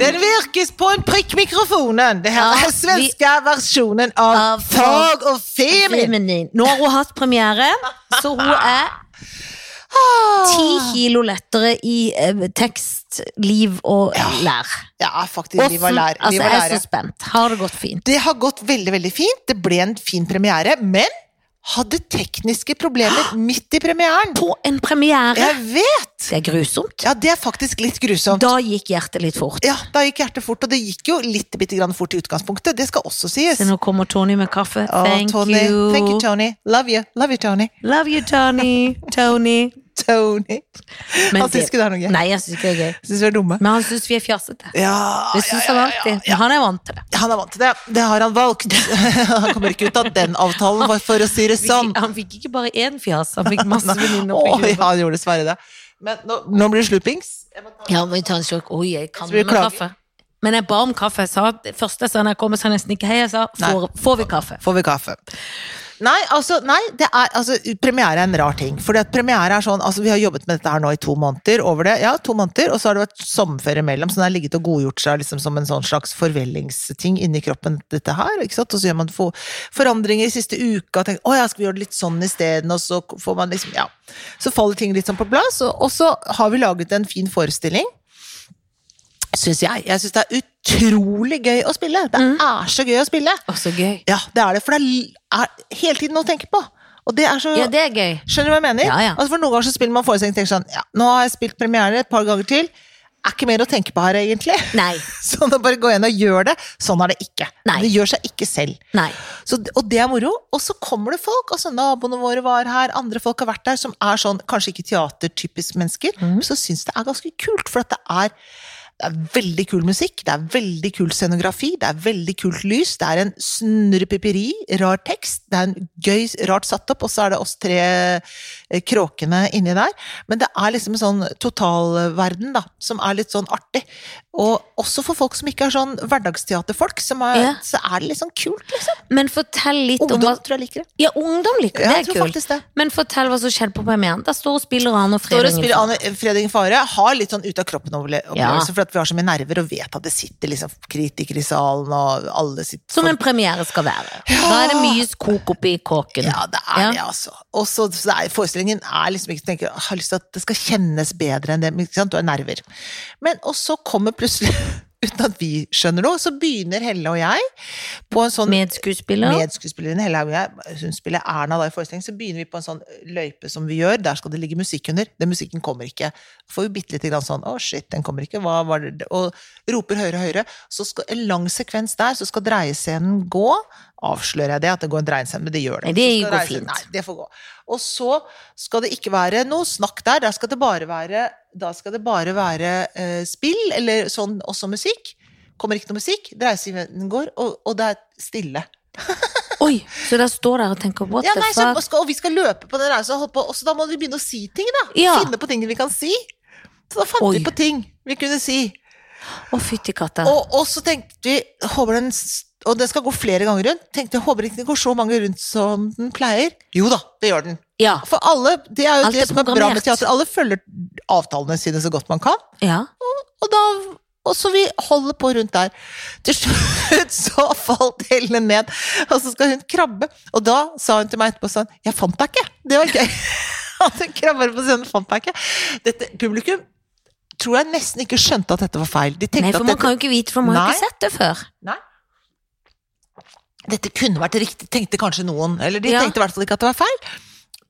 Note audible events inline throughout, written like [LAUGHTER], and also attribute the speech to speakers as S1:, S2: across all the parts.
S1: Den virkes på en prikkmikrofonen. Det her
S2: Ja,
S1: er svenske versjonen av,
S2: Av
S1: Fag og Femin.
S2: Feminin. Nå har hun hatt premiere, så hun er ti kilo lettere i eh, tekst, liv og lær.
S1: Ja, faktisk.
S2: Åssen-
S1: Liv og lære.
S2: altså,
S1: Liv og
S2: jeg er
S1: lære.
S2: så spent. Har det gått fint?
S1: Det har gått veldig, veldig fint. Det ble en fin premiere, men hadde tekniske
S2: [GASPS]
S1: problemer midt i premieren.
S2: På en premiere!
S1: Jeg vet!
S2: Det er grusomt.
S1: Ja, det er faktisk litt grusomt.
S2: Da gikk hjertet litt fort.
S1: Ja, da gikk hjertet fort, og det gikk jo litt bitte grann fort i utgangspunktet. Det skal også sies.
S2: Så nå kommer Tony med kaffe.
S1: Å,
S2: Thank,
S1: Tony.
S2: you.
S1: Thank you, Tony. Love you. Love you, Tony. [LAUGHS]
S2: Love you, Tony. Tony.
S1: Tony.
S2: Men
S1: Han syns ikke det er noe gøy.
S2: Nei, jeg syns ikke det er gøy.
S1: Syns vi er dumme.
S2: Men han syns vi er fjasete.
S1: Ja,
S2: Det syns han alltid. Men Han er vant til det.
S1: Han er vant til det. Det har han valgt. [LAUGHS] Han kommer ikke ut av den avtalen, bare for å si det sånn.
S2: Han fikk ikke bare én fjas, han fikk
S1: [LAUGHS]
S2: masse venninner
S1: Å
S2: på
S1: ja,
S2: jobben.
S1: han gjorde dessverre det. Men nå, nå blir det slurpings. Jeg må ta-
S2: Ja, må vi ta en slurk? Oi, jeg kan
S1: Så vi
S2: med
S1: klager.
S2: kaffe. Men jeg ba om kaffe. Jeg sa, første jeg sa når jeg kom, så jeg nesten ikke hei. Jeg sa, får, får vi kaffe?
S1: Får vi kaffe. Nei, altså, nei det er, altså, premiere er en rar ting. Fordi at premiere er sånn, altså, Vi har jobbet med dette her nå i to måneder, over det, ja, to måneder, og så har det vært sommerferie imellom. Så den har ligget og godgjort seg liksom, som en sånn slags forvellingsting inni kroppen. dette her, ikke sant? Og så gjør man for, forandringer i siste uka, og tenker å ja, skal vi gjøre det litt sånn isteden? Og så får man liksom, ja. Så faller ting litt sånn på plass. Og, og så har vi laget en fin forestilling syns jeg. Jeg syns det er utrolig gøy å spille. Det er så gøy å spille.
S2: Å, så gøy.
S1: Ja, det er det, for det er, li- er hele tiden noe å tenke på. Og det er så
S2: Ja, det er gøy.
S1: Skjønner du hva jeg mener?
S2: Ja, ja.
S1: Altså for Noen ganger så spiller man forestilling og tenker sånn ja, Nå har jeg spilt premiere et par ganger til. Er ikke mer å tenke på her, egentlig.
S2: Nei.
S1: [LAUGHS] Så da bare gå inn og gjør det. Sånn er det ikke.
S2: Nei.
S1: Det gjør seg ikke selv.
S2: Nei.
S1: Så, og det er moro. Og så kommer det folk. altså Naboene våre var her, andre folk har vært der, som er sånn, kanskje ikke teatertypisk mennesker, men som syns det er ganske kult. For at det er, det er veldig kul musikk, det er veldig kul scenografi, det er veldig kult lys, det er en snurrepiperi, rar tekst, det er en gøy, rart satt opp, og så er det oss tre eh, kråkene inni der. Men det er liksom en sånn totalverden, da, som er litt sånn artig. Og også for folk som ikke er sånn hverdagsteaterfolk, som er,
S2: Ja.
S1: så er det litt sånn kult, liksom.
S2: Men fortell litt om hva
S1: tror jeg liker det.
S2: Ja, ungdom liker
S1: Ja,
S2: det.
S1: jeg tror
S2: Det er kult.
S1: faktisk det.
S2: Men fortell hva som skjedde på premieren. Der står og spiller Arne og
S1: Står og
S2: Fredrik.
S1: spiller Anne Fredrik Fare, har litt sånn ut av kroppen opple- opplevelse, for at vi har så mye nerver og vet at det sitter liksom kritikere i salen, og alle sitter
S2: Som en premiere skal være. Da er det mye skok oppi kåken.
S1: sånn. Ja, det er det, altså. Og så så det er- forestillingen er liksom ikke tenker, jeg har lyst til at det skal kjennes bedre enn det, men ikke sant, du har nerver. Men, og så kommer plutselig, [LAUGHS] uten at vi skjønner noe, så begynner Helle og jeg på en sånn
S2: Medskuespiller.
S1: medskuespilleren Helle Haug og jeg, hun spiller Erna da i forestillingen, så begynner vi på en sånn løype som vi gjør, der skal det ligge musikk under. Den musikken kommer ikke. Da får vi bitte lite grann sånn, å shit, den kommer ikke, hva var det? Og roper høyere og høyere. Så skal en lang sekvens der, så skal dreiescenen gå. Avslører jeg det, at det går en dreiescene, men det gjør det.
S2: Nei, det
S1: Så skal
S2: går
S1: dreiescenen-
S2: fint.
S1: Nei, det får gå. Og så skal det ikke være noe snakk der, der skal det bare være, da skal det bare være eh, spill, eller sånn også musikk. Kommer ikke noe musikk, dreiescenen går, og, og det er stille.
S2: Oi, så der står der og tenker what
S1: Ja,
S2: the
S1: nei, så, og,
S2: fuck.
S1: skal, og vi skal løpe på den reisen og holde på, og så da må vi begynne å si ting, da.
S2: Ja.
S1: Finne på ting vi kan si. Så da fant
S2: Oi.
S1: vi på ting vi kunne si.
S2: Å, fytti katta.
S1: Og, og så tenkte vi, håper den s- Og det skal gå flere ganger rundt. Tenkte jeg, håper ikke den går så mange rundt som den pleier. Jo da, det gjør den.
S2: Ja.
S1: For alle, det er jo
S2: Alt er
S1: det som er bra med
S2: programmert.
S1: teater. Alle følger avtalene sine så godt man kan.
S2: ja.
S1: Og da og så vi holder på rundt der. Til slutt så [LAUGHS] falt Helen ned, og så skal hun krabbe. Og da sa hun til meg etterpå sånn Jeg fant deg ikke! Det var gøy. [LAUGHS] At hun krabber på scenen, fant deg ikke. Dette publikum tror jeg nesten ikke skjønte at dette var feil. De tenkte
S2: Nei, for
S1: at
S2: man
S1: dette,
S2: kan jo ikke vite, for man har jo
S1: Nei.
S2: ikke sett det før.
S1: nei, dette kunne vært riktig, tenkte kanskje noen. Eller de
S2: Ja.
S1: tenkte i hvert fall ikke at det var feil.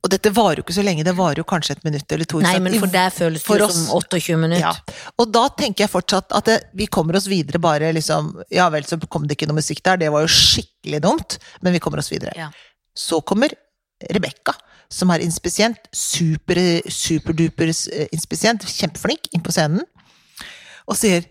S1: Og dette varer jo ikke så lenge, det varer jo kanskje et minutt eller to. ikke
S2: Nei,
S1: sant?
S2: men
S1: I-
S2: for deg føles
S1: For
S2: det jo
S1: oss-
S2: som 28 minutter.
S1: Ja. Og da tenker jeg fortsatt at det, vi kommer oss videre bare liksom Ja vel, så kom det ikke noe musikk der, det var jo skikkelig dumt, men vi kommer oss videre.
S2: Ja.
S1: Så kommer Rebekka, som er inspisient, super, superduper eh, inspisient, kjempeflink, inn på scenen, og sier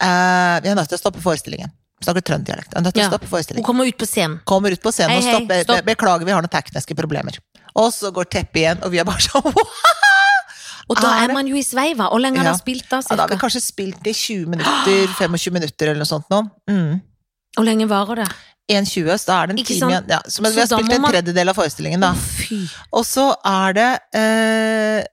S1: eh, Vi er nødt til å stoppe forestillingen. Snakker trønderdialekt. Vi er nødt til
S2: Ja.
S1: å stoppe
S2: Hun
S1: forestillingen.
S2: kommer ut på scenen.
S1: Kommer ut på scenen
S2: Hei,
S1: og
S2: hei,
S1: stopper. Be-
S2: stopp.
S1: Beklager, vi har noen tekniske problemer. Og så går teppet igjen, og vi er bare sånn
S2: Og da
S1: Er
S2: er
S1: Ah, det-
S2: man jo i sveiva. Og lenge har
S1: Ja.
S2: hun spilt da,
S1: Ja, da har vi
S2: cirka?
S1: kanskje spilt i 20 minutter, 25 minutter eller noe sånt nå. Mm.
S2: Hvor lenge varer det?
S1: 1,20, så da er det en
S2: Ikke
S1: time
S2: sant?
S1: igjen. Ja, så men vi har
S2: Så da
S1: spilt
S2: må
S1: en
S2: man-
S1: tredjedel av forestillingen, da.
S2: Å, fy.
S1: Og så er det eh,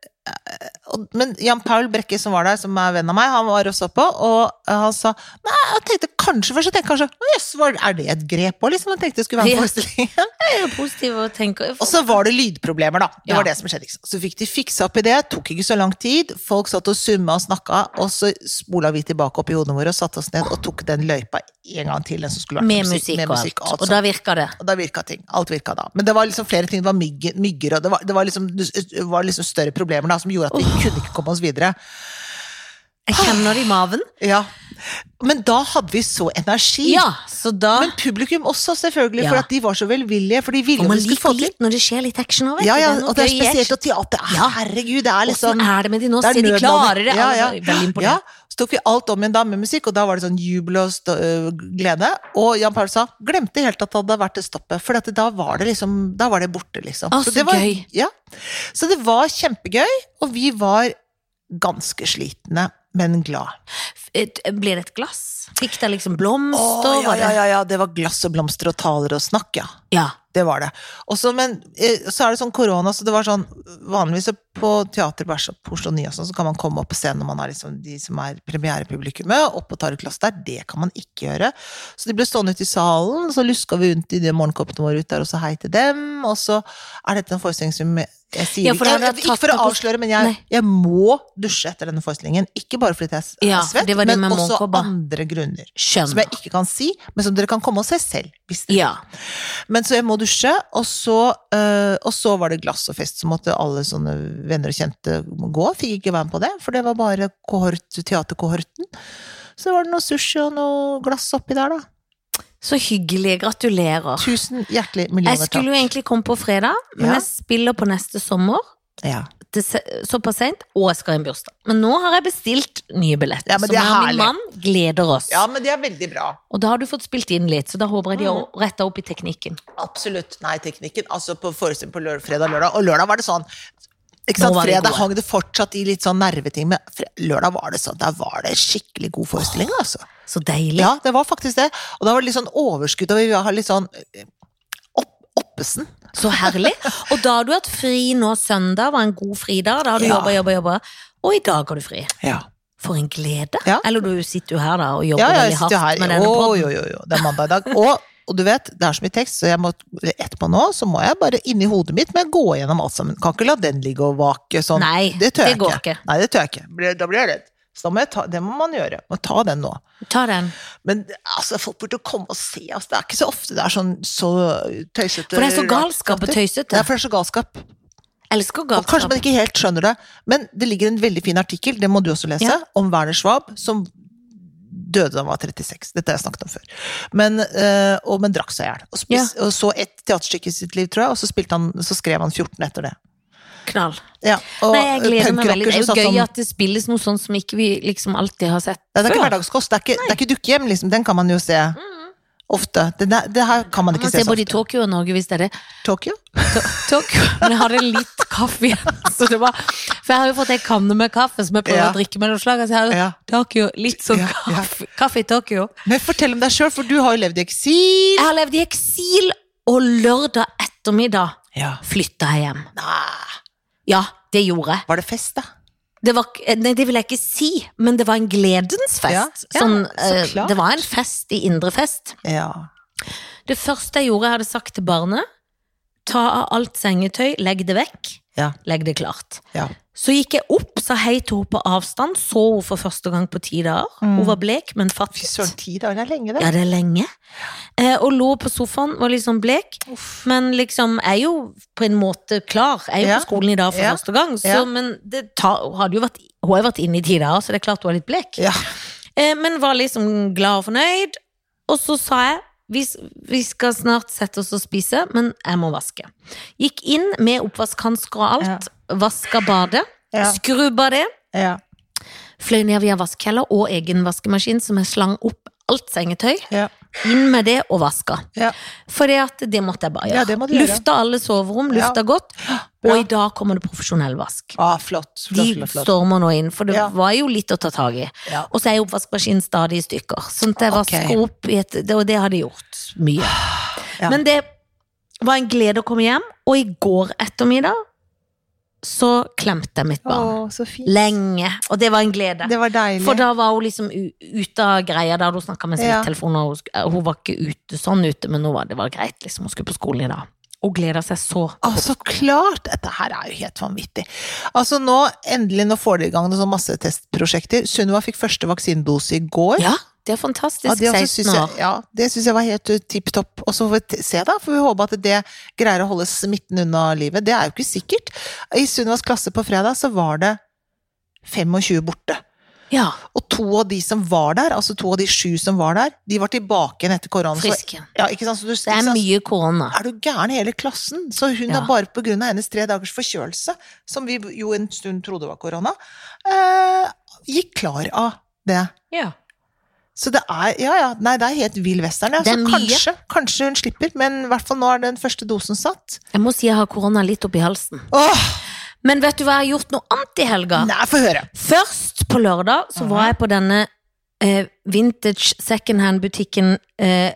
S1: og- Men Jan Paul Brekke som var der, som er venn av meg, han var og så på, og eh, han sa Nei, jeg tenkte kanskje først, jeg tenkte kanskje «Å, Jøss, var- er det et grep òg, liksom? Jeg tenkte det skulle være en
S2: Ja.
S1: forestilling.
S2: Jeg er jo positiv og tenker
S1: Og så var det lydproblemer, da. Det
S2: Ja.
S1: var det som skjedde. ikke sant? Så fikk de fiksa opp i det, tok ikke så lang tid. Folk satt og summa og snakka, og så spola vi tilbake opp i hodene våre og satte oss ned og tok den løypa en gang til. Den som skulle vært
S2: Med musikk og alt. Og
S1: sånt.
S2: da virker det.
S1: Og da virka ting. Alt virka da. Men det var liksom flere ting. Det var mygg- mygger, og det var, det var, liksom, det var liksom større problemer da, som gjorde at vi kunne ikke komme oss videre.
S2: Jeg kjenner det i maven.
S1: Ja. Men da hadde vi så energi.
S2: Ja, så da
S1: Men publikum også, selvfølgelig,
S2: Ja.
S1: for at de var så velvillige. For de ville jo
S2: Og
S1: at
S2: man
S1: vi skulle
S2: liker
S1: få til.
S2: litt når det skjer litt action òg, vet
S1: Ja,
S2: du.
S1: ja,
S2: noe
S1: og det er
S2: gøy i
S1: spesielt,
S2: action.
S1: og teater Herregud, det er liksom
S2: Åssen er det med de nå?
S1: det er
S2: Se, de
S1: nødnummer.
S2: klarer det!
S1: Ja, ja.
S2: Altså, veldig
S1: Ja,
S2: imponert.
S1: så tok vi alt om igjen da med musikk, og da var det sånn jubel og stå, øh, glede. Og Jan Paul sa glemte helt at det hadde vært det stoppet, for at da var det liksom Da var det borte, liksom.
S2: Å, så
S1: det var,
S2: gøy.
S1: Ja. Så det var kjempegøy, og vi var ganske slitne, men glad.
S2: Et- eh, Blir det et glass? Fikk dere liksom blomster?
S1: Å, ja,
S2: var det-
S1: ja, ja, ja, det var glass og blomster og taler og snakk, ja.
S2: ja.
S1: Det var det. Og så- men eh, så er det sånn korona, så det var sånn Vanligvis så på teater bare så på Oslo Nya sånn, så kan man komme opp på scenen når man er liksom de som er premierepublikummet, opp og tar et glass der. Det kan man ikke gjøre. Så de ble stående ute i salen, så luska vi rundt i de morgenkoppene våre ut der og sa hei til dem, og så er dette en forestilling som jeg, jeg sier
S2: Ja, for
S1: ikke,
S2: da hadde
S1: jeg,
S2: jeg
S1: ikke for å
S2: tatt det
S1: avsløre, men jeg,
S2: Nei.
S1: jeg må dusje etter denne forestillingen. Ikke bare fordi jeg er
S2: Ja,
S1: svett,
S2: det var det
S1: men
S2: med
S1: også
S2: morgenkåpa.
S1: andre grunner. Som
S2: Skjønner.
S1: jeg ikke kan si, men som dere kan komme og se selv. Hvis dere
S2: Ja.
S1: men så jeg må dusje, og så, øh, og så var det glass og fest, så måtte alle sånne venner og kjente gå. Fikk ikke være med på det, for det var bare kohort, teaterkohorten. Så var det noe sushi og noe glass oppi der, da.
S2: Så hyggelig. Gratulerer.
S1: Tusen hjertelig
S2: Ah. Jeg
S1: millioner
S2: skulle jo
S1: takk.
S2: egentlig komme på fredag, men
S1: Ja.
S2: jeg spiller på neste sommer.
S1: Ja.
S2: til se- Såpass seint, og jeg skal i en bursdag. Men nå har jeg bestilt nye billetter.
S1: Ja, men
S2: så
S1: det er
S2: jeg og min
S1: herlig.
S2: mann gleder oss.
S1: ja, men det er veldig bra.
S2: Og da har du fått spilt inn litt, så da håper jeg de har
S1: Mhm.
S2: retta opp i teknikken.
S1: Absolutt. Nei, teknikken. Altså på forestilling på lør fredag og lørdag. Og lørdag var det sånn ikke
S2: Nå
S1: sant?
S2: var vi
S1: Fredag
S2: gode.
S1: hang det fortsatt i litt sånn nerveting, men fre- lørdag var det sånn. Der var det skikkelig god forestilling, altså.
S2: Så deilig.
S1: Ja, det var faktisk det. Og da var det litt sånn overskudd, og vi har litt sånn eh, opp, oppesen.
S2: Så herlig. Og da har du hatt fri nå søndag, var en god fridag. Da har du
S1: Ja.
S2: jobba, jobba, jobba. Og i dag har du fri.
S1: Ja,
S2: For en glede.
S1: Ja.
S2: Eller du sitter jo her da og jobber
S1: ja, jeg
S2: veldig
S1: sitter jo
S2: hardt med
S1: her.
S2: denne
S1: Å,
S2: podden.
S1: jo, jo, jo. Det er mandag i dag. Og, og du vet, det er så mye tekst, så jeg må, etterpå nå så må jeg bare inni hodet mitt men gå gjennom alt sammen. Kan ikke la den ligge og vake sånn.
S2: Nei,
S1: det tør jeg
S2: det går
S1: ikke.
S2: ikke.
S1: Nei, det tør jeg ikke. Blir- Da blir jeg redd. Så da må jeg ta, det må man gjøre. Må ta den nå.
S2: Ta den.
S1: Men altså, folk burde komme og se oss. Det er ikke så ofte det er sånn så tøysete.
S2: For det er så
S1: rart
S2: galskap og
S1: teater.
S2: tøysete.
S1: Det er for det er så galskap.
S2: Elsker
S1: Og kanskje
S2: galskap.
S1: man ikke helt skjønner det, men det ligger en veldig fin artikkel, det må du også lese,
S2: Ja.
S1: om Werner Schwab, som døde da han var 36. Dette har jeg snakket om før. Men, øh, og, men drakk seg i hjel. Og, spis- og så et teaterstykke i sitt liv, tror jeg, og så, spilte han, så skrev han 14 etter det.
S2: Knall.
S1: Ja, og
S2: Nei, jeg gleder meg veldig. Det
S1: punkrocker som
S2: er
S1: satt
S2: jo
S1: sånn
S2: gøy at det spilles noe sånn som ikke vi liksom alltid har sett
S1: Nei, Det er ikke
S2: før. Mm.
S1: hverdagskost, det er ikke, det er ikke dukkehjem, liksom. Den kan man jo se ofte. Det, der, det her kan man
S2: Man
S1: ikke sånn.
S2: ser
S1: se så
S2: både i
S1: ofte.
S2: Tokyo og Norge, hvis det er det.
S1: Tokyo?
S2: Tokyo. Men jeg hadde litt kaffe igjen. Så det var, for jeg har jo fått ei kanne med kaffe som jeg prøver
S1: Ja.
S2: å drikke mellom slagene. Så jeg har
S1: Ja.
S2: Tokyo, litt sånn
S1: Ja, ja.
S2: kaffe, kaffe i Tokyo.
S1: Men fortell om deg sjøl, for du har jo levd i eksil.
S2: Jeg har levd i eksil, og lørdag ettermiddag
S1: Ja.
S2: flytta jeg hjem.
S1: Nei,
S2: Ja, det gjorde jeg.
S1: var det fest, da?
S2: Det, var, ikke- nei, det vil jeg ikke si, men det var en gledens fest.
S1: Ja, ja,
S2: sånn,
S1: så
S2: eh,
S1: klart.
S2: det var en fest i indre fest.
S1: Ja.
S2: Det første jeg gjorde, jeg hadde sagt til barnet Ta av alt sengetøy, legg det vekk.
S1: Ja.
S2: Legg det klart.
S1: ja.
S2: Så gikk jeg opp, sa hei til henne på avstand, så henne for første gang på ti dager.
S1: Mm.
S2: Hun var blek, men
S1: Fy
S2: fattig.
S1: søren, ti dager det er lenge, det.
S2: Ja, det er lenge. Eh, og lå på sofaen, var liksom blek, men liksom er jo på en måte klar. Er jo
S1: Ja.
S2: på skolen i dag for
S1: Ja.
S2: første gang, så,
S1: Ja.
S2: men det tar, hun hadde jo vært, hun har jo vært inne i ti dager, så det er klart hun er litt blek.
S1: Ja.
S2: Eh, men var liksom glad og fornøyd. Og så sa jeg vi, s- vi skal snart sette oss og spise, men jeg må vaske. Gikk inn med oppvaskhansker og alt, vaska badet.
S1: Ja.
S2: Skrubba det,
S1: Ja.
S2: fløy ned via vaskeheller og egen vaskemaskin som jeg slang opp alt sengetøy,
S1: Ja.
S2: inn med det og vaska.
S1: Ja.
S2: For det, at det måtte jeg bare
S1: Ja,
S2: gjøre.
S1: det må du gjøre.
S2: Lufta alle soverom,
S1: Ja.
S2: lufta godt, og
S1: Bra.
S2: i dag kommer det profesjonell vask.
S1: Ah, flott.
S2: De
S1: flott, flott, flott.
S2: stormer nå inn, for det
S1: Ja.
S2: var jo litt å ta tak i.
S1: Ja.
S2: Og så er jo oppvaskmaskinen stadig i stykker, sånn at jeg
S1: Ok.
S2: vasker opp i et det- Og det har de gjort mye.
S1: Ja.
S2: Men det var en glede å komme hjem, og i går ettermiddag så klemte jeg mitt barn.
S1: Å, så fint.
S2: Lenge. Og det var en glede.
S1: Det var deilig.
S2: For da var hun liksom u- ute av greia, da hadde hun snakka med
S1: Ja.
S2: smittetelefonen, og hun, sk- eh, hun var ikke ute sånn ute, men nå var det var greit, liksom. Hun skulle på skolen i dag. Og gleda seg så.
S1: Å, så klart! Dette her er jo helt vanvittig. Altså nå, endelig, nå får de i gang noen sånn masse testprosjekter. Sunniva fikk første vaksinedose i går.
S2: Ja, det er fantastisk.
S1: Ja, det også
S2: 16
S1: synes jeg,
S2: år.
S1: ja, det syns jeg var helt uh, tipp topp. Og så får vi t- se, da. Får vi håpe at det greier å holde smitten unna livet. Det er jo ikke sikkert. I Sunnivas klasse på fredag så var det 25 borte.
S2: Ja,
S1: Og to av de som var der, altså to av de sju som var der, de var tilbake igjen etter korona. Så-
S2: frisk.
S1: Ja, ikke sant? Så du, ikke
S2: Det er
S1: sant?
S2: mye korona.
S1: er du gæren hele klassen? Så hun
S2: Ja.
S1: har bare på grunn av hennes tre dagers forkjølelse, som vi jo en stund trodde var korona, eh, gikk klar av det.
S2: Ja.
S1: Så det er Ja, ja. Nei, det er helt vill western, ja.
S2: Det
S1: Så
S2: er mye.
S1: kanskje, kanskje hun slipper, men i hvert fall nå er den første dosen satt.
S2: Jeg må si jeg har korona litt oppi halsen.
S1: Åh,
S2: Men vet du hva jeg har gjort noe annet i helga?
S1: nei, få høre!
S2: Først på lørdag så var
S1: Mhm.
S2: jeg på denne eh, vintage secondhand-butikken eh,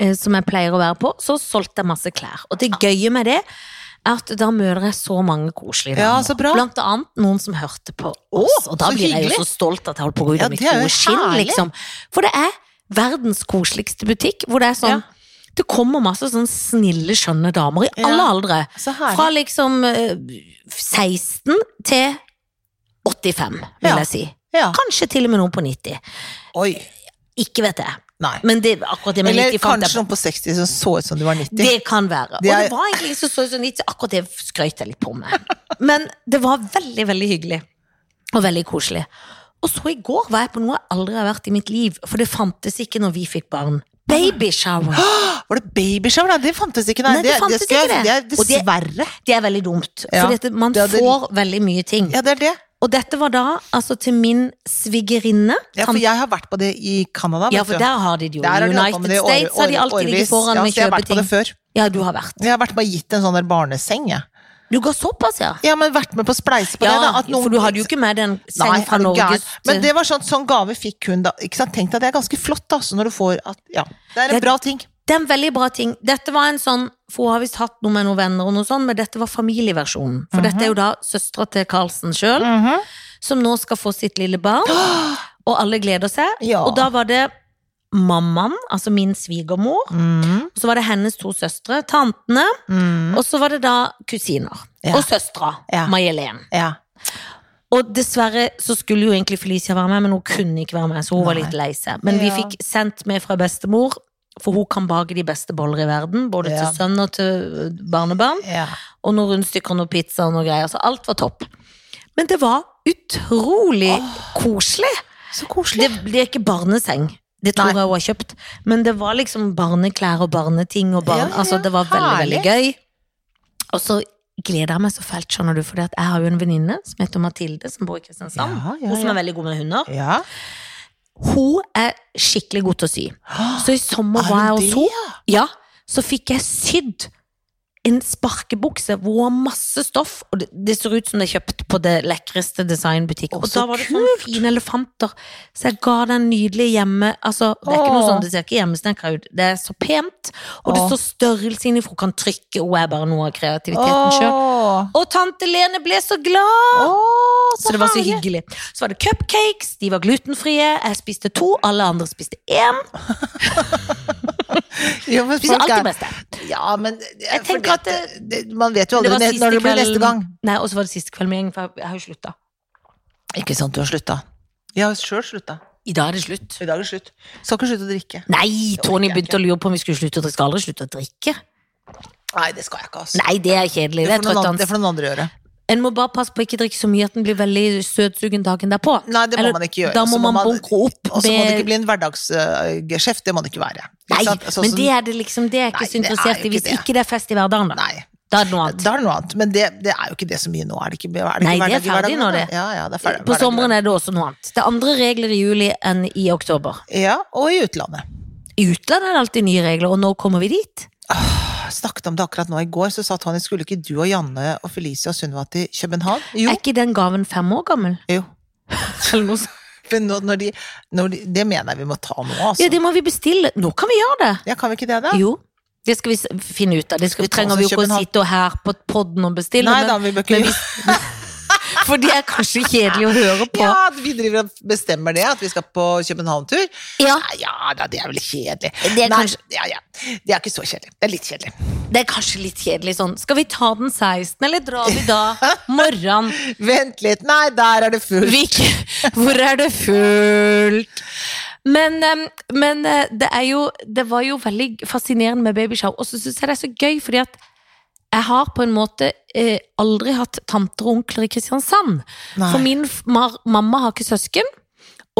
S2: eh, som jeg pleier å være på. Så solgte jeg masse klær. Og det gøye med det er at da møter jeg så mange koselige
S1: Ja,
S2: damer.
S1: så bra.
S2: Blant annet noen som hørte på oss. og da
S1: så
S2: blir jeg
S1: hyggelig.
S2: jo så stolt at jeg holdt på å gå ut
S1: Ja,
S2: av mitt
S1: det er jo
S2: gode skinn,
S1: herlig.
S2: liksom. For det er verdens koseligste butikk, hvor det er sånn
S1: Ja.
S2: Det kommer masse sånn snille, skjønne damer i
S1: Ja.
S2: alle aldre.
S1: Så
S2: Fra
S1: herlig.
S2: liksom eh, 16 til 85, vil
S1: Ja.
S2: jeg si.
S1: Ja.
S2: Kanskje til og med noen på 90.
S1: Oi.
S2: Ikke vet jeg.
S1: Nei.
S2: Men det akkurat det med
S1: Eller
S2: 90 fant jeg
S1: kanskje noen på 60 som så ut som de var 90.
S2: Det kan være. Og
S1: Det er-
S2: det var egentlig ikke så så 90, akkurat det skrøt jeg litt på med. Men det var veldig, veldig hyggelig. Og veldig koselig. Og så i går var jeg på noe jeg aldri har vært i mitt liv, for det fantes ikke når vi fikk barn. Babyshower.
S1: [GASPS] Var det babyshower? Nei, det fantes ikke, nei.
S2: Nei, det fantes
S1: skal jeg-
S2: ikke det.
S1: det er
S2: Og det-
S1: dessverre.
S2: Det er veldig dumt,
S1: Ja.
S2: for dette, man
S1: Det hadde-
S2: får veldig mye ting.
S1: Ja, det er det.
S2: Og dette var da altså til min svigerinne.
S1: Ja, for jeg har vært på det i Canada.
S2: Ja,
S1: vet
S2: for
S1: du.
S2: der har de det jo.
S1: Der har
S2: I
S1: de holdt på
S2: United
S1: med det i åre-
S2: States har de
S1: åre-
S2: alltid ligget
S1: årevis.
S2: foran
S1: Ja,
S2: med
S1: så Jeg har vært på
S2: kjøpeting.
S1: det før.
S2: Ja, du har vært.
S1: Jeg har vært med og gitt en sånn der barneseng, jeg.
S2: Du går såpass, ja.
S1: Ja, men vært med på å spleise på
S2: ja,
S1: det. da. at noen-
S2: for du hadde jo ikke med den seng
S1: Nei,
S2: fra
S1: er du gæren?
S2: Norges eh,
S1: Men det var sånn, sånn gave fikk hun da. Ikke sant? Tenk deg, det er ganske flott da, så når du får at, ja. Det er en
S2: Det-
S1: bra ting.
S2: Det er en veldig bra ting. Dette var en sånn, for hun har visst hatt noe med noen venner og noe sånt, men dette var familieversjonen. For dette
S1: Mhm.
S2: er jo da søstra til Carlsen sjøl, som nå skal få sitt lille
S1: [GASPS]
S2: barn, og alle gleder seg.
S1: Ja.
S2: Og da var det mammaen, altså min svigermor,
S1: Mhm.
S2: og så var det hennes to søstre, tantene,
S1: Mhm.
S2: og så var det da kusiner.
S1: Ja.
S2: Og søstera,
S1: Ja.
S2: May-Helen.
S1: Ja.
S2: Og dessverre så skulle jo egentlig Felicia være med, men hun kunne ikke være med, så hun var
S1: Nei.
S2: litt lei seg. Men vi
S1: Ja.
S2: fikk sendt med fra bestemor, for hun kan bake de beste boller i verden, både
S1: Ja.
S2: til sønn og til barnebarn,
S1: Ja.
S2: og noen rundstykker og noen pizza og noe greier, så alt var topp. Men det var utrolig koselig.
S1: Så koselig.
S2: Det blir ikke barneseng. Det tror
S1: Nei.
S2: jeg hun har kjøpt. Men det var liksom barneklær og barneting og
S1: Ja,
S2: barn...
S1: ja,
S2: altså, det var veldig,
S1: herlig.
S2: veldig gøy. Og så gleder jeg meg så fælt, skjønner du, for jeg har jo en venninne som heter Mathilde, som bor i Kristiansand.
S1: Ja, ja,
S2: Hun som
S1: ja.
S2: er veldig god med hunder.
S1: Ja.
S2: Hun er skikkelig god til å sy. Så i sommer
S1: Er
S2: var
S1: hun
S2: jeg hos henne,
S1: det, ja?
S2: ja, så fikk jeg sydd en sparkebukse hvor hun har masse stoff, og det, det ser ut som det er kjøpt på det lekreste designbutikken.
S1: Å,
S2: Og
S1: så
S2: da var det sånne fine elefanter, så jeg ga den nydelige hjemme... Altså, det er ikke noe
S1: Åh.
S2: sånn, det ser ikke hjemmesnekra ut. Det er så pent, og det
S1: Åh.
S2: står størrelse inni, for hun kan trykke, og er bare noe av kreativiteten sjøl.
S1: Åh.
S2: Og tante Lene ble så glad!
S1: Åh,
S2: Så det var så
S1: herlig.
S2: hyggelig. Så var det cupcakes, de var glutenfrie. Jeg spiste to, alle andre spiste én.
S1: Ja, men
S2: Spiser
S1: folk
S2: alt det
S1: er-
S2: beste.
S1: Ja, men jeg
S2: tenker
S1: tenker
S2: at
S1: at det, det, man vet jo aldri
S2: var
S1: ne-
S2: siste
S1: når det blir
S2: kvelden.
S1: neste gang.
S2: Nei, og så var det siste kvelden med gjengen, for jeg- jeg har jo slutta.
S1: Ikke sant, du har slutta. Jeg har sjøl slutta.
S2: I dag er det slutt.
S1: I dag er det slutt. Skal ikke slutte å drikke.
S2: Nei, Tony
S1: orker jeg
S2: begynte å lure på om vi skulle slutte å drikke. Skal aldri slutte å drikke.
S1: Nei, det skal jeg ikke, altså.
S2: Nei, det er kjedelig. Det er
S1: det, får noen andre,
S2: trøttende.
S1: det får noen andre gjøre.
S2: En må bare passe på å ikke drikke så mye at en blir veldig søtsugen dagen derpå.
S1: Nei, det må
S2: Eller,
S1: man ikke gjøre.
S2: Da
S1: Så
S2: må man bunkre opp
S1: Og så må det ikke
S2: med
S1: bli en hverdagsgeskjeft. det må det ikke være. Ikke
S2: Nei,
S1: sant? Sånn
S2: men
S1: som-
S2: det er det liksom Det er jeg
S1: Nei,
S2: ikke så
S1: det er
S2: interessert i
S1: jo
S2: hvis
S1: ikke det.
S2: ikke det er fest i hverdagen, da.
S1: Nei,
S2: Da er det noe annet.
S1: da er det noe annet. Men det, det er jo ikke det så mye nå. Er det ikke, er det ikke hverdag i
S2: Nei, det er ferdig
S1: hverdagen,
S2: nå,
S1: da?
S2: det.
S1: Ja, ja, det er ferdig,
S2: På
S1: hverdag i
S2: sommeren er det også noe annet. Det er andre regler i juli enn i oktober.
S1: hverdagen. Ja, og i utlandet.
S2: I utlandet er det alltid nye regler, og nå kommer vi dit.
S1: Jeg snakket om det akkurat nå i går, så sa Tony skulle ikke du og Janne og Felicie og Sunniva til København? Jo.
S2: Er ikke den gaven fem år gammel?
S1: jo.
S2: Eller noe sånt.
S1: Men nå- når de, når de, det mener jeg vi må ta nå, altså.
S2: Ja, det må vi bestille. Nå kan vi gjøre det!
S1: Ja, kan vi ikke det, da?
S2: Jo. Det skal vi s- finne ut av. Det
S1: Skal
S2: skal,
S1: vi ta
S2: trenger
S1: oss
S2: vi
S1: en
S2: jo ikke å
S1: København?
S2: sitte og her på podden og bestille.
S1: Nei
S2: men-
S1: da, vi bør ikke
S2: men For det er kanskje kjedelig å høre på.
S1: Ja, vi driver og bestemmer det, at vi skal på København-tur.
S2: Ja,
S1: Nei, Ja da, det er vel kjedelig.
S2: Det er
S1: Nei,
S2: kanskje-
S1: ja, ja. det er ikke så kjedelig. Det er litt kjedelig.
S2: Det er kanskje litt kjedelig sånn. Skal vi ta den 16., eller drar vi
S1: [LAUGHS]
S2: da morgenen?
S1: Vent litt, nei, der er det fullt.
S2: Vik, [LAUGHS] hvor er det fullt? Men, em, men eh, det er jo Det var jo veldig fascinerende med babyshow. Og så syns jeg det er så gøy, fordi at jeg har på en måte eh, aldri hatt tanter og onkler i Kristiansand.
S1: Nei.
S2: For min f- mar mamma har ikke søsken.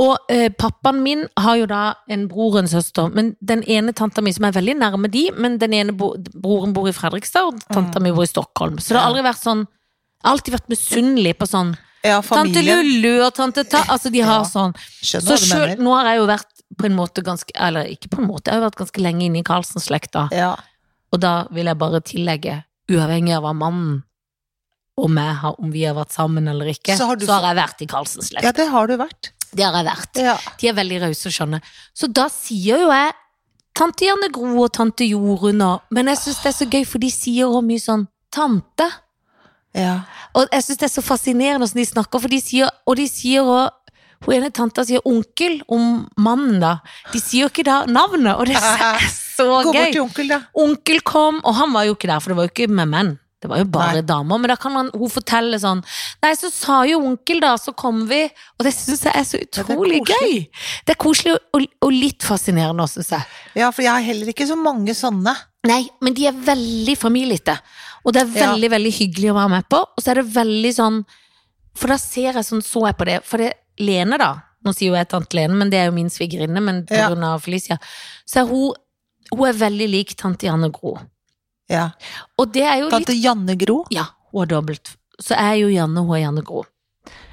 S2: Og eh, pappaen min har jo da en bror og en søster. Men den ene tanta mi som er veldig nærme de, men den ene bo broren bor i Fredrikstad, og tanta
S1: Mm.
S2: mi bor i Stockholm. Så det har aldri vært sånn Jeg har alltid vært misunnelig på sånn
S1: Ja,
S2: Tante
S1: familien.
S2: Lullu og tante Ta... Altså, de
S1: Ja.
S2: har sånn.
S1: Skjønner
S2: Så
S1: hva du
S2: selv,
S1: mener.
S2: nå har jeg jo vært på en måte ganske Eller ikke på en måte, jeg har jo vært ganske lenge inne i Karlsen-slekta.
S1: Ja.
S2: Og da vil jeg bare tillegge, uavhengig av hva mannen og meg har, om vi har vært sammen eller ikke,
S1: Så
S2: så
S1: har
S2: har,
S1: du
S2: jeg vært i Karlsen-slekta.
S1: ja, det har du vært.
S2: Det har jeg vært.
S1: Ja.
S2: De er veldig rause, skjønner jeg. Så da sier jo jeg tante Janne Gro og tante Jorunn og Men jeg syns det er så gøy, for de sier også mye sånn tante.
S1: Ja.
S2: Og jeg synes det er så fascinerende hvordan de snakker, for de sier, og de sier også hun ene tanta sier onkel om mannen, da. De sier jo ikke da navnet, og det er
S1: [LAUGHS]
S2: så
S1: Gå bort
S2: gøy.
S1: til onkel, da.
S2: Onkel kom, og han var jo ikke der, for det var jo ikke med menn. Det var jo bare
S1: Nei.
S2: damer. Men da kan han, hun fortelle sånn Nei, så sa jo onkel, da, så kom vi. Og det syns jeg er så
S1: det er
S2: utrolig gøy. Det er koselig og, og litt fascinerende òg, syns jeg.
S1: Ja, for jeg har heller ikke så mange sånne.
S2: Nei, men de er veldig familiete. Og det er
S1: Ja.
S2: veldig, veldig hyggelig å være med på. Og så er det veldig sånn For da ser jeg sånn, så jeg på det For det Lene, da. Nå sier jo jeg tante Lene, men det er jo min svigerinne, men på
S1: Ja.
S2: grunn av Felicia. Så er hun Hun er veldig lik tante Janne Gro.
S1: Ja.
S2: Og det er jo litt
S1: Tante Janne Gro.
S2: Ja, hun er dobbelt. Så jeg er jo Janne, hun er Janne Gro.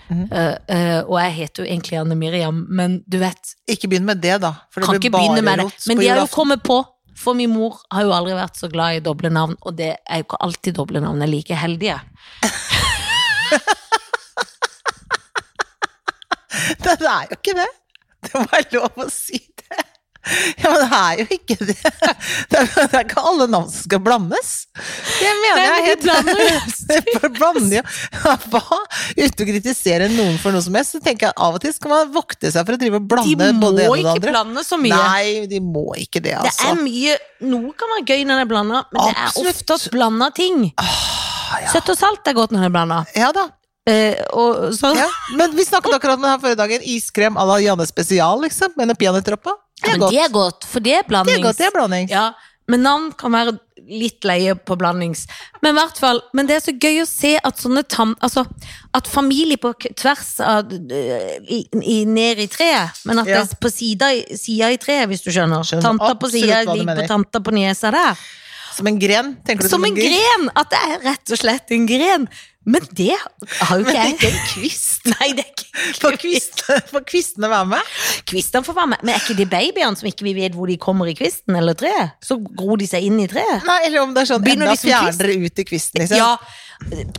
S1: Mhm.
S2: Eh, eh, og jeg heter jo egentlig Janne Miriam, men du vet
S1: Ikke begynn med det, da. For
S2: Kan
S1: det
S2: ikke
S1: blir bare
S2: begynne med det.
S1: rot
S2: Men
S1: på
S2: de har jo
S1: julaften.
S2: kommet på. For min mor har jo aldri vært så glad i doble navn, og det er jo ikke alltid doble navn er like heldige.
S1: [LAUGHS] Det er jo ikke det. Det må være lov å si det. Ja, men det er jo ikke det. [LAUGHS] Det er, det er ikke alle navn som skal blandes. Det mener
S2: Nei,
S1: jeg
S2: men de blander
S1: [LAUGHS]
S2: jo
S1: helt Blander jo Hva? Uten å kritisere noen for noe som helst, så tenker jeg av og til skal man vokte seg for å drive og
S2: De
S1: blande
S2: må
S1: både det ene og det
S2: ikke
S1: andre.
S2: blande så mye.
S1: Nei, de må ikke det,
S2: det
S1: altså.
S2: er mye Noe kan være gøy når det er blanda, men det er
S1: Absolutt. Ah,
S2: ofte at blanda ting. Søtt og salt er godt når det er blanda.
S1: Ja da.
S2: Eh, og sånn.
S1: Ja. Men vi snakket akkurat om det her forrige dagen. Iskrem à la Janne Spesial, liksom. Med en peanøttdråpe.
S2: Ja,
S1: Det er
S2: men
S1: godt.
S2: det er godt, for det er
S1: Det er
S2: blandings.
S1: godt, det er blandings.
S2: Ja, men navn kan være litt leie på blandings. Men i hvert fall, men det er så gøy å se at sånne tam... Altså, at familie på k- tvers av øh, i, i, Ned i treet, men at
S1: Ja.
S2: det er på sida, i- sida i treet, hvis du skjønner.
S1: Skjønner
S2: Tanter på
S1: absolutt
S2: sida
S1: hva du
S2: ligger
S1: mener.
S2: på tanta på niesa der.
S1: Som en gren, tenker du.
S2: Som en gren! At det er rett og slett en gren. Men det har jo
S1: Men det
S2: ikke
S1: er ikke
S2: jeg.
S1: en kvist.
S2: [LAUGHS] Nei, det er ikke
S1: Får kvistene, [LAUGHS] får kvistene være med?
S2: Kvistene får være med. Men er ikke det babyene som ikke vi vet hvor de kommer i kvisten eller treet? Så gror de seg inn i treet.
S1: Nei, eller om det er sånn
S2: Begynner
S1: enda
S2: de som kvist?
S1: fjernere ut i kvisten, liksom.
S2: Ja,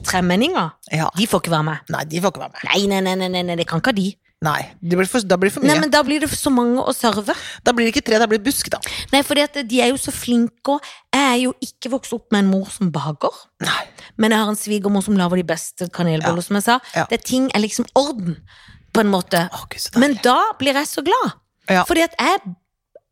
S2: tremenninger.
S1: Ja.
S2: De får ikke være med.
S1: Nei, de får ikke være med.
S2: Nei, nei, nei, nei, nei, nei det kan ikke ha de.
S1: Nei, det blir for, Da blir det for mye.
S2: Nei, men da blir det så mange å serve.
S1: Da blir det ikke tre, da blir det busk, da.
S2: Nei, for de er jo så flinke, og jeg er jo ikke vokst opp med en mor som baker.
S1: Nei.
S2: Men jeg har en svigermor som lager de beste kanelboller,
S1: Ja.
S2: som jeg sa.
S1: Ja.
S2: Det er ting er liksom orden, på en måte.
S1: Å, gud, så deilig.
S2: Men da blir jeg så glad.
S1: Ja.
S2: Fordi at jeg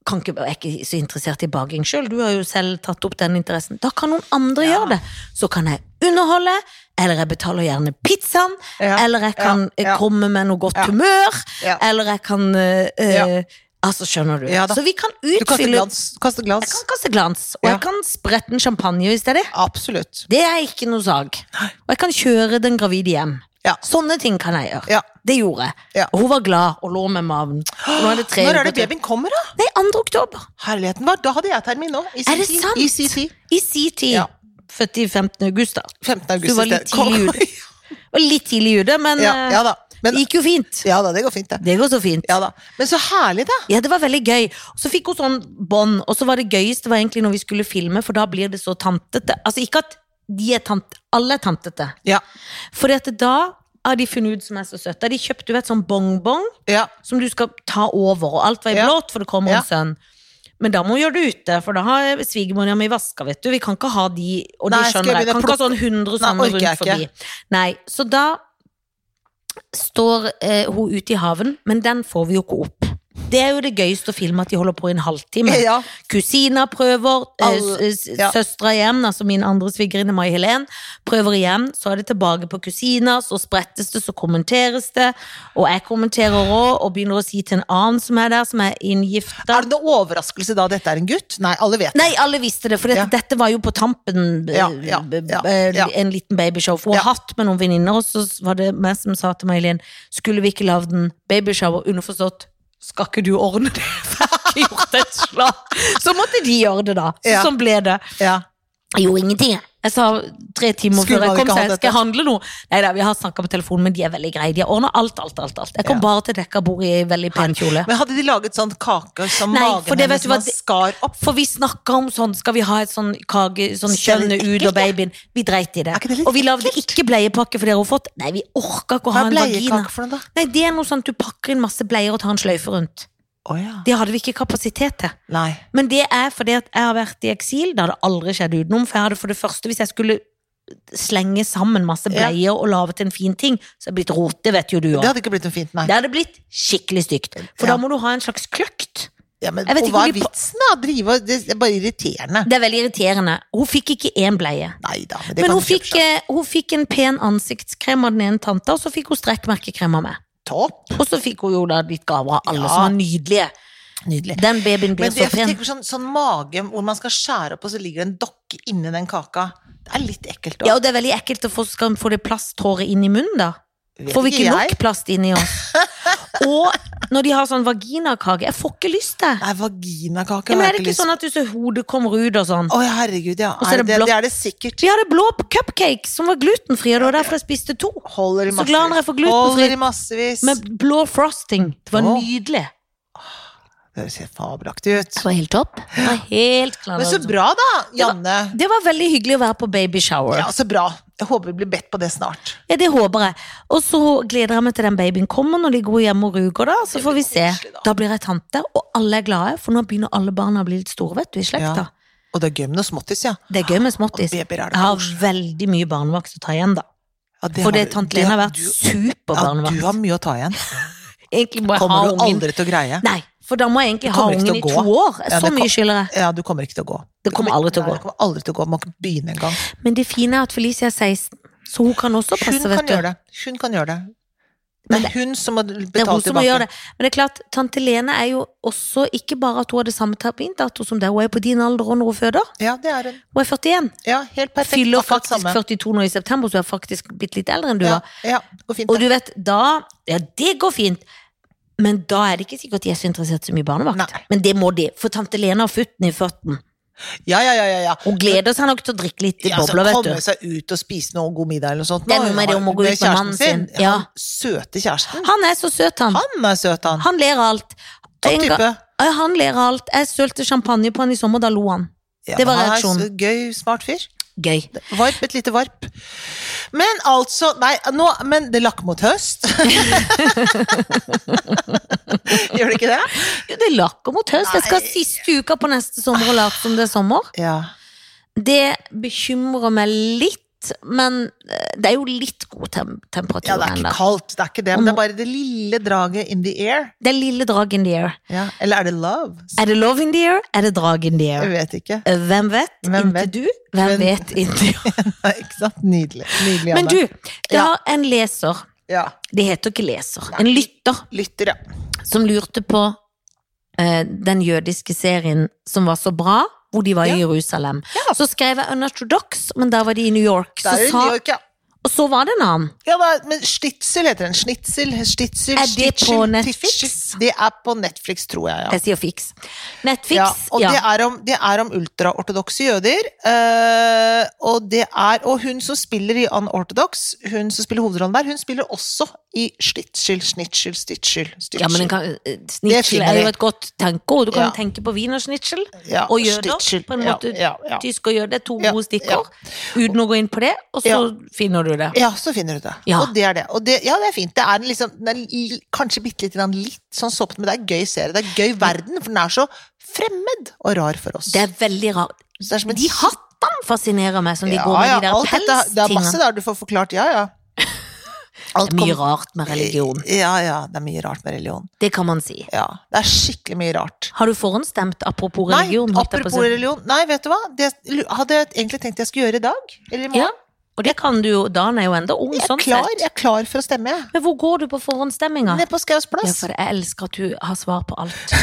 S2: kan ikke, jeg er ikke så interessert i baking sjøl. Du har jo selv tatt opp den interessen. Da kan noen andre
S1: Ja.
S2: gjøre det. Så kan jeg underholde, eller jeg betaler gjerne pizzaen,
S1: Ja,
S2: eller jeg kan eh,
S1: ja.
S2: komme med noe godt
S1: Ja.
S2: humør,
S1: Ja.
S2: eller jeg kan eh, eh, Altså, skjønner du?
S1: Ja da.
S2: så vi kan
S1: Du kaster
S2: utfylle
S1: glans. Du kaster glans.
S2: Jeg kan kaste glans, og
S1: Ja.
S2: jeg kan sprette en champagne i stedet.
S1: Absolutt.
S2: Det er ikke noe sag. Og jeg kan kjøre den gravide hjem.
S1: Ja.
S2: Sånne ting kan jeg gjøre.
S1: Ja.
S2: Det gjorde jeg.
S1: Ja.
S2: Og hun var glad og lå med maven. Og Nå er det tre
S1: Når er det
S2: uker til.
S1: babyen kommer, da?
S2: Nei, 2. oktober.
S1: Herligheten var, Da hadde jeg termin nå. I sin
S2: Er det
S1: tid.
S2: sant?
S1: I sin tid.
S2: I si tid.
S1: Ja.
S2: Født i 15. august, da.
S1: 15. august.
S2: Du var litt tidlig ute. Og litt tidlig ute, men
S1: ja,
S2: eh,
S1: ja da. Men,
S2: det gikk jo fint.
S1: ja da, det går fint, det.
S2: Det går så fint.
S1: Ja da. Men så herlig, da.
S2: Ja, det var veldig gøy. Og så fikk hun sånn bånd, og så var det gøyeste var egentlig når vi skulle filme, for da blir det så tantete. Altså ikke at de er tant... Alle er tantete.
S1: Ja.
S2: For da har de funnet ut som er så søtt. Da har de kjøpt, du vet, sånn bongbong
S1: Ja.
S2: som du skal ta over, og alt var i
S1: Ja.
S2: blått, for det kommer
S1: Ja.
S2: en sønn. Men da må vi gjøre det ute, for da har svigermora mi vaska, vet du. Vi kan ikke ha de, og de
S1: Nei, skal
S2: skjønner
S1: jeg begynne
S2: det. Kan
S1: å
S2: ikke ha sånn 100
S1: Nei,
S2: sånne
S1: orker jeg
S2: rundt forbi. Nei, så da står eh, hun ute i haven, men den får vi jo ikke opp. Det er jo det gøyeste å filme at de holder på i en halvtime.
S1: [LAUGHS] Ja.
S2: Kusina prøver,
S1: Alle-
S2: eh, s- s-
S1: ja.
S2: søstera igjen, altså min andre svigerinne Mai Helen, prøver igjen. Så er det tilbake på kusina, så sprettes det, så kommenteres det. Og jeg kommenterer òg, og begynner å si til en annen som er der, som er inngifta.
S1: Er det noen overraskelse da dette er en gutt? Nei, alle vet det.
S2: Nei, alle visste det, for dette,
S1: Ja.
S2: dette var jo på tampen. eh,
S1: Ja, ja,
S2: b- b-
S1: ja,
S2: eh,
S1: ja.
S2: En liten babyshow. For hun har
S1: Ja.
S2: hatt med noen venninner, og så var det meg som sa til May-Helen Skulle vi ikke lagd en babyshower? Underforstått skal ikke du ordne det? [LAUGHS] For jeg har ikke gjort et slag. Så måtte de gjøre det, da. Så
S1: Ja.
S2: Sånn ble det.
S1: Ja.
S2: Jeg gjorde ingenting, jeg. Jeg sa tre timer
S1: Skulle
S2: før jeg
S1: man
S2: kom,
S1: ikke
S2: så
S1: hatt
S2: jeg
S1: dette?
S2: skal jeg handle noe. Nei da, vi har snakka på telefonen, men de er veldig greie. De har ordna alt, alt, alt. alt. Jeg kom
S1: Ja.
S2: bare til dekka bord i en veldig pen kjole.
S1: Men hadde de laget sånn kake som
S2: Nei,
S1: magen
S2: for det vet
S1: hennes
S2: du
S1: man
S2: hva, det-
S1: skar opp?
S2: For vi snakka om sånn, skal vi ha et sånn kake, sånn
S1: Ser det
S2: kjønnet ut
S1: ekkelt,
S2: og babyen. Vi dreit i det.
S1: Er ikke det litt
S2: Og vi lagde ikke bleiepakke for dere har fått. Nei, vi orka ikke å
S1: Hva
S2: ha
S1: er
S2: en vagina.
S1: bleiekake for noe, da?
S2: Nei, det er noe sånn at du pakker inn masse bleier og tar en sløyfe rundt.
S1: Å ja.
S2: Det hadde vi ikke kapasitet til.
S1: Nei.
S2: Men det er fordi at jeg har vært i eksil. Det hadde aldri skjedd utenom. For jeg hadde for det første, hvis jeg skulle slenge sammen masse
S1: Ja.
S2: bleier og lage til en fin ting, så hadde det blitt rot. Det vet jo du
S1: Det
S2: òg.
S1: hadde ikke blitt noe fint, nei.
S2: Det hadde blitt skikkelig stygt.
S1: Ja.
S2: For da må du ha en slags kløkt.
S1: Ja, men,
S2: Jeg vet
S1: og
S2: ikke
S1: hva
S2: om
S1: er
S2: de pa-
S1: vitsen, da? Drive og Det er bare irriterende.
S2: Det er veldig irriterende. Hun fikk ikke én bleie.
S1: Nei da, men det
S2: Men
S1: kan
S2: hun
S1: du kjøpe
S2: fikk,
S1: selv.
S2: eh, hun fikk en pen ansiktskrem av den ene tanta, og så fikk hun strekkmerkekrem av meg.
S1: Topp.
S2: Og så fikk hun jo da litt gaver av alle
S1: Ja.
S2: som var nydelige.
S1: Nydelig.
S2: Den babyen blir
S1: Men det, jeg
S2: så pen.
S1: tenker sånn, sånn mage hvor man skal skjære opp, og så ligger det en dokke inni den kaka. Det er litt ekkelt.
S2: Ja, og det er veldig ekkelt å få, skal få det plasthåret inn i munnen, da.
S1: Vet
S2: Får vi ikke nok
S1: jeg.
S2: plast inni
S1: [LAUGHS]
S2: oss? Og når de har sånn vaginakake Jeg får ikke lyst til det.
S1: Nei, vaginakake
S2: Ja, men
S1: har
S2: er
S1: jeg
S2: det ikke
S1: lyst på.
S2: sånn at du ser hodet kommer ut og sånn?
S1: Å herregud, ja.
S2: Og så er
S1: Er
S2: det
S1: det,
S2: blått.
S1: det er det sikkert.
S2: Vi hadde blå cupcake som var glutenfri, og det var derfor jeg spiste to.
S1: Holder i
S2: Så glad når
S1: massevis.
S2: jeg får glutenfri.
S1: Holder i massevis.
S2: Med blå frosting. Det var
S1: Åh.
S2: nydelig.
S1: Det ser fabelaktig ut.
S2: Det var helt topp. Det var helt klar.
S1: [GASPS] Men så bra, da, Janne.
S2: Det var veldig hyggelig å være på babyshower.
S1: Ja, så bra. Jeg håper vi blir bedt på det snart.
S2: Ja, det håper jeg. Og så gleder jeg meg til den babyen kommer når de går hjem og ruger, da. Så
S1: Det
S2: får vi
S1: blir
S2: se.
S1: koselig, da.
S2: Da blir jeg tante, og alle er glade, for nå begynner alle barna å bli litt store, vet du, i
S1: Ja.
S2: slekta.
S1: Og det er gøy med noe småttis, ja.
S2: Det er gøy med
S1: Og
S2: småttis.
S1: babyer er
S2: Jeg
S1: det
S2: har
S1: koselig.
S2: veldig mye barnevakt å ta igjen, da.
S1: Ja, det
S2: For
S1: har
S2: det
S1: du-
S2: tante Lene har vært
S1: du- Ja, du
S2: superbarnevakt.
S1: har mye å ta igjen.
S2: Egentlig må jeg ha
S1: Kommer du
S2: ungen.
S1: aldri til å greie.
S2: Nei, for da må jeg egentlig ha
S1: Kommer ikke
S2: ungen i
S1: til å
S2: to
S1: gå.
S2: år.
S1: Ja,
S2: Så
S1: det
S2: mye
S1: kom-
S2: skylder jeg.
S1: Ja, du kommer ikke til å gå. Du
S2: Det kommer aldri til å
S1: nei,
S2: gå.
S1: Du kommer aldri til å gå. Man kan ikke begynne engang.
S2: Men det fine er at Felicia er 16, så hun kan også
S1: Hun
S2: passe,
S1: kan
S2: vet du.
S1: gjøre det. Hun kan gjøre det. Det
S2: Men
S1: er hun som må betale
S2: Det er hun som må
S1: tilbake.
S2: gjøre det. Men det er klart, tante Lene er jo også ikke bare at hun har det samme terapindato som deg, hun er jo på din alder og når hun føder.
S1: Ja, det er hun.
S2: Hun er 41.
S1: Ja, helt perfekt.
S2: Fyller
S1: Akkurat
S2: faktisk
S1: samme.
S2: 42 nå i september, så hun er faktisk blitt litt eldre enn du
S1: Ja,
S2: var.
S1: ja, det går fint.
S2: Og
S1: det.
S2: du vet, da Ja, det går fint. Men da er det ikke sikkert de er så interessert så mye i barnevakt.
S1: Nei.
S2: Men det må de, for tante Lene har futten i føtten.
S1: Ja, ja, ja, ja, ja.
S2: Hun gleder seg nok til å drikke litt
S1: Ja, så
S2: bobler, vet
S1: komme
S2: du.
S1: seg ut og spise noe god middag eller noe sånt.
S2: Det er
S1: Nå,
S2: noe med det om å gå ut med
S1: kjæresten
S2: mannen sin.
S1: Ja.
S2: Ja.
S1: han Søte kjæresten.
S2: Han er så søt, han.
S1: Han er søt, han.
S2: Han ler av alt. En
S1: Topp
S2: gang-
S1: type.
S2: Ja, Han ler av alt. Jeg sølte champagne på han i sommer, da lo han.
S1: Ja,
S2: Det var
S1: han er så
S2: reaksjonen.
S1: Gøy, smart fyr.
S2: Gøy.
S1: Varp, et lite varp. Men altså Nei, nå, men det lakker mot høst. [LAUGHS] Gjør det ikke det?
S2: Jo, det lakker mot høst. Jeg skal ha siste uka på neste sommer og late som det er sommer.
S1: Ja.
S2: Det bekymrer meg litt, men eh, det er jo litt god tem temperatur
S1: ja, det er ikke
S2: ennå.
S1: kaldt, det er ikke det, men det er bare det lille draget in the air.
S2: Det er lille drag in the air.
S1: Ja. Eller er det love?
S2: Er det love in the air? Er det drag in the
S1: Jeg
S2: air?
S1: vet ikke.
S2: Eh, Hvem vet?
S1: Hvem
S2: Inntil
S1: vet?
S2: du? Hvem
S1: Men-
S2: vet inntil
S1: Nei, [LAUGHS] ikke sant? Nydelig. Nydelig
S2: Men
S1: Anne.
S2: du, det
S1: Ja.
S2: har en leser
S1: Ja.
S2: Det heter ikke leser. En lytter
S1: Lytter, ja.
S2: som lurte på eh, den jødiske serien som var så bra, hvor de var
S1: Ja.
S2: i Jerusalem.
S1: Ja.
S2: Så skrev jeg Unorthodox, men der var de i New York.
S1: Det
S2: Så
S1: er jo
S2: sa,
S1: New York, ja.
S2: og så var det en annen.
S1: Ja, hva- men Stitzel heter den. Stitzel, Stitzel,
S2: Er det på
S1: Stitzel,
S2: Netflix?
S1: Titzel. Det er på Netflix, tror jeg, ja.
S2: Jeg sier Fix. Netflix,
S1: ja,
S2: ja.
S1: og Det, er om, det er om ultraortodokse jøder. eh, og, det er, og hun som spiller i Unorthodox, hun som spiller hovedrollen der, hun spiller også i Stitzel, Snitzel, Stitzel. Stitzel.
S2: Ja, men en kan, eh, snitsel
S1: finner
S2: er
S1: vi.
S2: jo et godt tenkeord. Du kan
S1: Ja.
S2: jo tenke på wienerschnitzel
S1: Ja,
S2: og jøder.
S1: Stitzel,
S2: På en
S1: ja,
S2: måte
S1: ja, ja.
S2: tysk og jøde, to
S1: Ja,
S2: gode stikkord. Uten å gå inn på det, og så finner du det.
S1: Ja, så finner du det.
S2: Ja.
S1: Og det er det. Og det, ja, det er fint. Det er en liksom, den er l- kanskje bitte litt, litt sånn såpete, men det er en gøy serie. Det er en gøy verden, for den er så fremmed og rar for oss.
S2: Det er veldig rart.
S1: Så det er som en
S2: De hattene fascinerer meg, som de
S1: Ja,
S2: går med
S1: ja,
S2: de der
S1: alt dette, det er masse
S2: pelstingene.
S1: der du får forklart, ja
S2: [LAUGHS]
S1: ja. Alt
S2: Det er mye
S1: kom-
S2: rart med religion.
S1: Ja ja, det er mye rart med religion.
S2: Det kan man si.
S1: Ja, det er skikkelig mye rart.
S2: Har du forhåndsstemt apropos religion?
S1: Nei,
S2: holdt jeg på å
S1: apropos
S2: si?
S1: religion. Nei, vet du hva? Det hadde jeg egentlig tenkt jeg skulle gjøre i dag. Eller i
S2: Ja,
S1: morgen.
S2: og det kan du jo. Dan er jo enda ung,
S1: jeg, er
S2: sånn
S1: klar,
S2: sett.
S1: jeg er klar for å stemme, jeg.
S2: Men hvor går du på forhåndsstemminga?
S1: Ned på Skaus
S2: Ja,
S1: plass.
S2: for jeg elsker at du har svar på alt.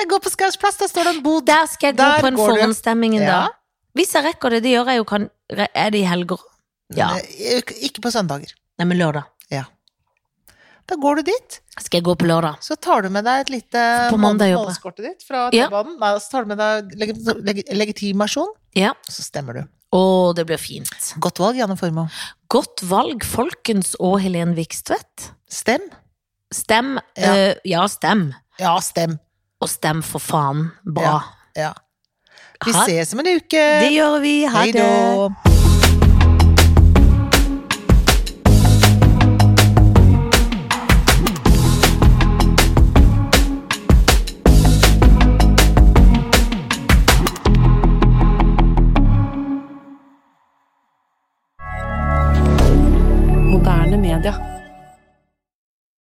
S1: Jeg går på Skaus plass, der står det en bod.
S2: Der skal jeg gå
S1: Der
S2: på en
S1: går du.
S2: forhåndsstemming en
S1: Ja.
S2: dag. Hvis jeg rekker det, det gjør jeg jo kan Er det i helger? Ja.
S1: Nei, eh, Ikke på søndager.
S2: Nei, men lørdag.
S1: Da går du dit,
S2: Skal jeg gå på lørdag?
S1: så tar du med deg et lite
S2: På mandag jobber jeg.
S1: månedskortet ditt fra
S2: Ja.
S1: T-banen. Nei, Så tar du med deg legi- legi- legitimasjon,
S2: Ja.
S1: så stemmer du.
S2: Å, det blir fint.
S1: Godt valg, Janne Formoe.
S2: Godt valg, folkens og Helen Vikstvedt.
S1: Stem.
S2: Stem.
S1: Ja.
S2: Ja. ja, stem.
S1: Ja, stem.
S2: Og stem for faen. Bra.
S1: Ja.
S2: Ha-
S1: Vi ses om en uke.
S2: Det gjør vi. Ha
S1: Hei
S2: det.
S1: da.